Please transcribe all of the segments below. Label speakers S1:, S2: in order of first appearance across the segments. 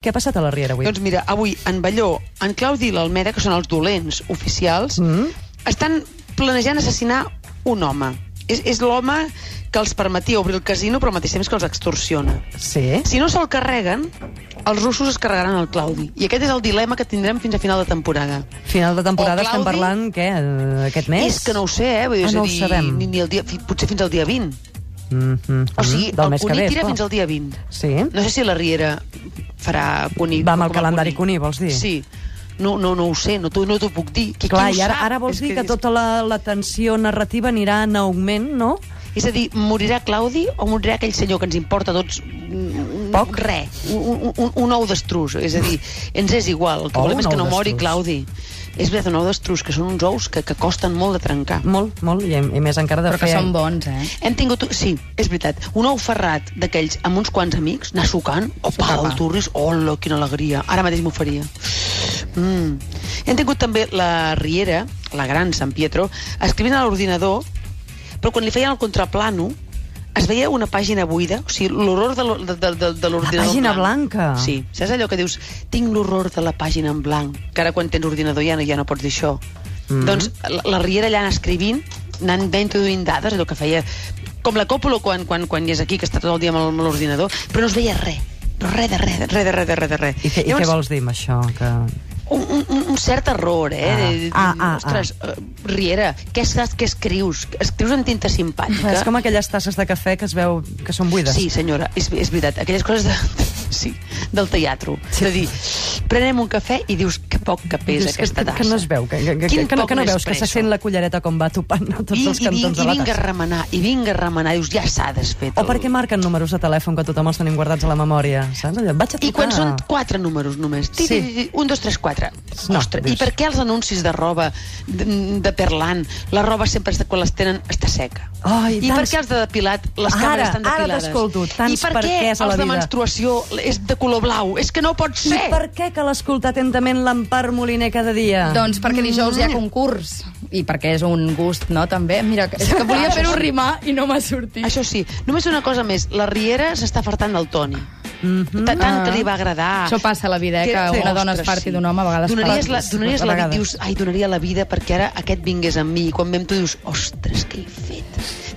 S1: Què ha passat a la Riera avui?
S2: Doncs mira, avui en Balló, en Claudi i l'Almera, que són els dolents oficials,
S1: Mhm.
S2: estan planejant assassinar un home. És, és l'home que els permetia obrir el casino, però al mateix temps que els extorsiona.
S1: Sí.
S2: Si no se'l carreguen, els russos es carregaran el Claudi. I aquest és el dilema que tindrem fins a final de temporada.
S1: Final de temporada
S2: O
S1: estem
S2: Claudi?
S1: parlant, què, eh, aquest mes?
S2: És que no ho sé, eh? Vull dir,
S1: Ah,
S2: és a
S1: no ho
S2: dir,
S1: sabem.
S2: Ni, ni el dia, fi- potser fins al dia 20.
S1: Mm -hmm.
S2: O sigui,
S1: Del
S2: el
S1: mes que
S2: Cuní
S1: ve,
S2: tira
S1: clar.
S2: fins al dia 20.
S1: Sí.
S2: No sé si la Riera farà Cuní.
S1: Va amb el
S2: com a
S1: calendari Cuní, vols dir?
S2: Sí. No, no, no ho sé, no, t'ho- no t'ho puc dir. Que
S1: Clar,
S2: qui ho
S1: i ara,
S2: sap?
S1: ara vols
S2: És
S1: dir que, tota la, la tensió narrativa anirà en augment, no?
S2: És a dir, morirà Claudi o morirà aquell senyor que ens importa a tots... un-
S1: Poc?
S2: Re, un, un, un ou d'estrus. És a dir, ens és igual. El que
S1: O
S2: volem
S1: Oh, un
S2: és que
S1: ou
S2: no mori
S1: d'estrus.
S2: Claudi. És veritat, un ou d'estrus, que són uns ous que, que costen molt de trencar.
S1: Molt, molt, i, i més encara de
S3: Però que
S1: fer...
S3: són bons, eh?
S2: Hem tingut, sí, és veritat, un ou ferrat d'aquells amb uns quants amics, anar sucant, opa,
S3: Sucava.
S2: el turris, hola, quina alegria, ara mateix m'ho faria. Mm. Hem tingut també la Riera, la gran San Pietro, escrivint a l'ordinador, però quan li feien el contraplano, es veia una pàgina buida, o sigui, l'horror de l'o- de- de- de- de l'ordinador.
S1: pàgina
S2: blanc.
S1: blanca.
S2: Sí, saps allò que dius, tinc l'horror de la pàgina en blanc, que ara quan tens ordinador ja no, ja no pots dir això.
S1: Mhm.
S2: Doncs la, la Riera allà anant escrivint, anant ben introduint dades, allò que feia com la Còpolo quan, quan, quan hi és aquí, que està tot el dia amb el- amb l'ordinador, però no es veia res, però res de res, res de res, de res, de res.
S1: I, què, I què vols dir amb això? Que...
S2: Un, un- un, un cert error, eh?
S1: Ah.
S2: De-
S1: Ah, ah,
S2: Ostres, eh, Riera, què, saps, què escrius? Escrius en tinta simpàtica?
S1: És com aquelles tasses de cafè que es veu que són buides.
S2: Sí, senyora, és, és veritat. Aquelles coses de, sí, del teatre. Sí. De dir, prenem un cafè i dius que poc que
S1: Dius
S2: pesa
S1: que,
S2: aquesta
S1: que,
S2: tassa.
S1: que no es veu, que, que, que, que,
S2: Quin
S1: que, no, que no
S2: poc
S1: veus, que se
S2: Nespresso.
S1: sent la cullereta com va topant a tots
S2: I,
S1: els
S2: i, vinc,
S1: cantons de
S2: I
S1: la
S2: vinga a
S1: tassa.
S2: remenar, i vinga a remenar, dius, ja s'ha desfet.
S1: O
S2: el-
S1: perquè marquen números de telèfon que tothom els tenim guardats a la memòria, saps? Allò, vaig a tocar...
S2: I quan són quatre números només. Ti,
S1: Ah. Sí.
S2: ti, ti, ti, Un, dos, tres, quatre.
S1: No,
S2: Ostres,
S1: dius.
S2: I per què els anuncis de roba, de, de perlant, la roba sempre, està- quan les tenen, està seca?
S1: Ai,
S2: I per
S1: tants-
S2: què els de depilat, les
S1: Ara,
S2: càmeres estan
S1: ara
S2: depilades?
S1: t'escolto, tants
S2: I per,
S1: per
S2: què
S1: quès a la
S2: els de
S1: vida.
S2: menstruació és de color blau? És que no pot
S1: I
S2: ser!
S1: per què cal escoltar atentament l'Empar Moliner cada dia?
S2: Ah.
S3: Doncs perquè dijous hi ha
S2: Mm.
S3: concurs. I perquè és un gust, no, també? Mira, que- és que volia fer-ho rimar i no m'ha sortit.
S2: Això sí, només una cosa més, la Riera s'està fartant del Toni.
S1: Mhm.
S2: Mm -hmm. Tant
S1: Ah.
S2: que li va agradar.
S3: Això passa a la vida, eh, que
S2: Sí.
S3: una dona es
S2: Ostres, sí.
S3: parti d'un home, a vegades
S2: Donaries
S3: fa-
S2: la, donaries
S1: a
S2: la vida,
S1: vegades.
S2: dius, ai, donaria la vida perquè ara aquest vingués amb mi. I quan vem tu dius, ostres, què he fet?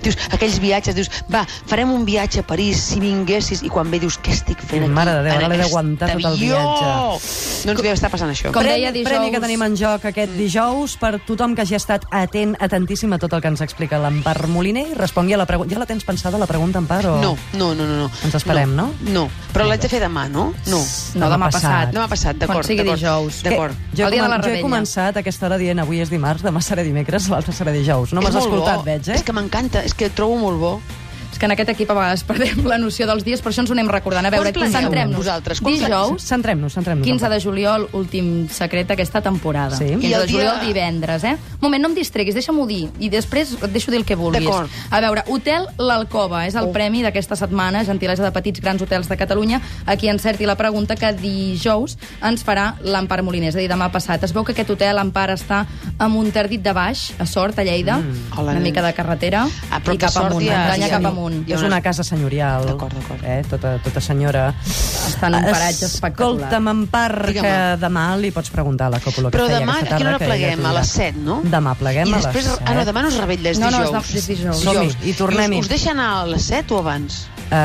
S2: Dius, aquells viatges, dius, va, farem un viatge a París si vinguessis. I quan ve dius, què estic fent aquí?
S1: Mare de Déu,
S2: en
S1: ara l'he
S2: aquest
S1: d'aguantar tot el
S2: avió?"
S1: viatge.
S2: No ens devia estar passant això.
S3: Com
S1: premi,
S3: deia dijous- Mm.
S1: premi que tenim en joc aquest dijous per tothom que hagi estat atent, atentíssim a tot el que ens explica l'Empar Moliner i respongui a la pregunta. Ja la tens pensada, la pregunta, Empar? O...
S2: No, no, no, no. no.
S1: Ens esperem, no?
S2: No, però l'haig de fer demà, no? No.
S3: No, demà passat.
S2: Demà passat, d'acord,
S3: Quan sigui
S2: d'acord,
S3: dijous.
S1: Que
S2: D'acord.
S1: Jo,
S3: El
S1: he
S3: dia de
S1: comen-
S3: la
S1: jo he
S3: revetlla.
S1: començat a aquesta hora dient avui és dimarts, demà serà dimecres, l'altre serà dijous. No
S2: És
S1: m'has
S2: molt
S1: escoltat,
S2: bo.
S1: veig, eh?
S2: És que m'encanta, és que trobo molt bo.
S3: És que en aquest equip a vegades perdem la noció dels dies, per això ens ho anem recordant. A veure,
S2: Quan planegeu
S3: concentrem-nos.
S2: vosaltres? Quan
S3: Dijous,
S1: Centrem-nos, centrem-nos.
S3: 15 de juliol, últim secret d'aquesta temporada.
S1: Sí.
S3: 15
S2: I el
S3: de juliol,
S2: dia-
S3: divendres, eh? Un moment, no em distreguis, deixa-m'ho dir, i després et deixo dir el que vulguis.
S2: D'acord. Oh.
S3: A veure, Hotel L'Alcova és el premi d'aquesta setmana, gentilesa de petits grans hotels de Catalunya, a qui encerti la pregunta que dijous ens farà l'Empar Moliner, és a dir, demà passat. Es veu que aquest hotel, Empar, està a Monterdit de Baix, a Sort, a Lleida,
S2: Hola,
S3: una
S2: nens.
S3: mica de carretera,
S2: A prop
S3: i
S2: de
S3: cap
S2: Sort
S3: amunt,
S2: hi ha-
S1: Ah,
S3: entranya
S2: hi ha
S3: cap
S2: un-
S3: amunt.
S2: hi ha
S1: És
S2: una-
S1: una casa senyorial.
S2: D'acord, d'acord.
S1: Eh? Tota, tota senyora. Ah,
S3: Està en un paratge espectacular.
S1: Escolta'm, en part,
S2: Digue'm.
S1: que demà li pots preguntar a la Còpula que
S2: Però
S1: feia
S2: demà,
S1: aquesta
S2: a
S1: tarda,
S2: quina hora
S1: que ella
S2: pleguem?
S1: t'ho
S2: A
S1: dirà.
S2: les 7, no?
S1: Demà pleguem
S2: I
S1: a
S2: després,
S1: les 7.
S2: Ah, no, demà no es rebetlla, és
S3: No, no,
S2: dijous.
S3: és de- és dijous.
S1: Som-hi, i
S2: Dijous.
S1: tornem-hi.
S2: Us, us deixen anar a les 7 o abans?
S1: Eh,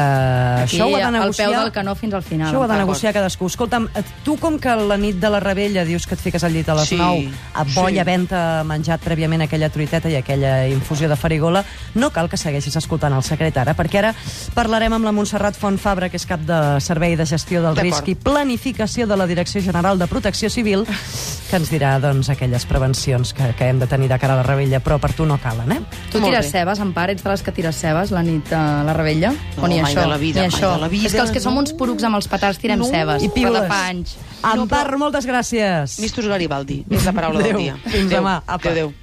S3: Aquí,
S1: això ho ha de
S3: al
S1: negociar...
S3: peu del canó fins al final.
S1: Això ho ha de
S2: D'acord.
S1: negociar cadascú. Escolta'm, eh, tu com que la nit de la rebella dius que et fiques al llit a les
S2: Sí,
S1: 9, a bo
S2: sí.
S1: i havent menjat prèviament aquella truiteta i aquella infusió de farigola, no cal que segueixis escoltant el secret ara, perquè ara parlarem amb la Montserrat Font Fabra, que és cap de Servei de Gestió del
S2: D'acord.
S1: Risc i Planificació de la Direcció General de Protecció Civil, que ens dirà doncs, aquelles prevencions que, que hem de tenir de cara a la rebella, però per tu no calen, eh?
S3: Tu
S2: Molt
S3: tires
S2: bé.
S3: cebes, en part, ets de les que tires cebes la nit a la rebella?
S2: No,
S3: o ni
S2: mai
S3: això?
S2: de la vida,
S3: ni
S2: mai
S3: això.
S2: de la vida,
S3: És que els que som
S2: no.
S3: uns porucs amb els petards tirem
S2: No.
S3: cebes.
S1: I
S3: Però
S1: piules.
S3: de fa anys.
S1: Ampar, moltes gràcies.
S2: Mistos Garibaldi, és la paraula
S1: Adéu.
S2: del dia.
S1: Fins demà. Apa.
S2: Adéu, adéu.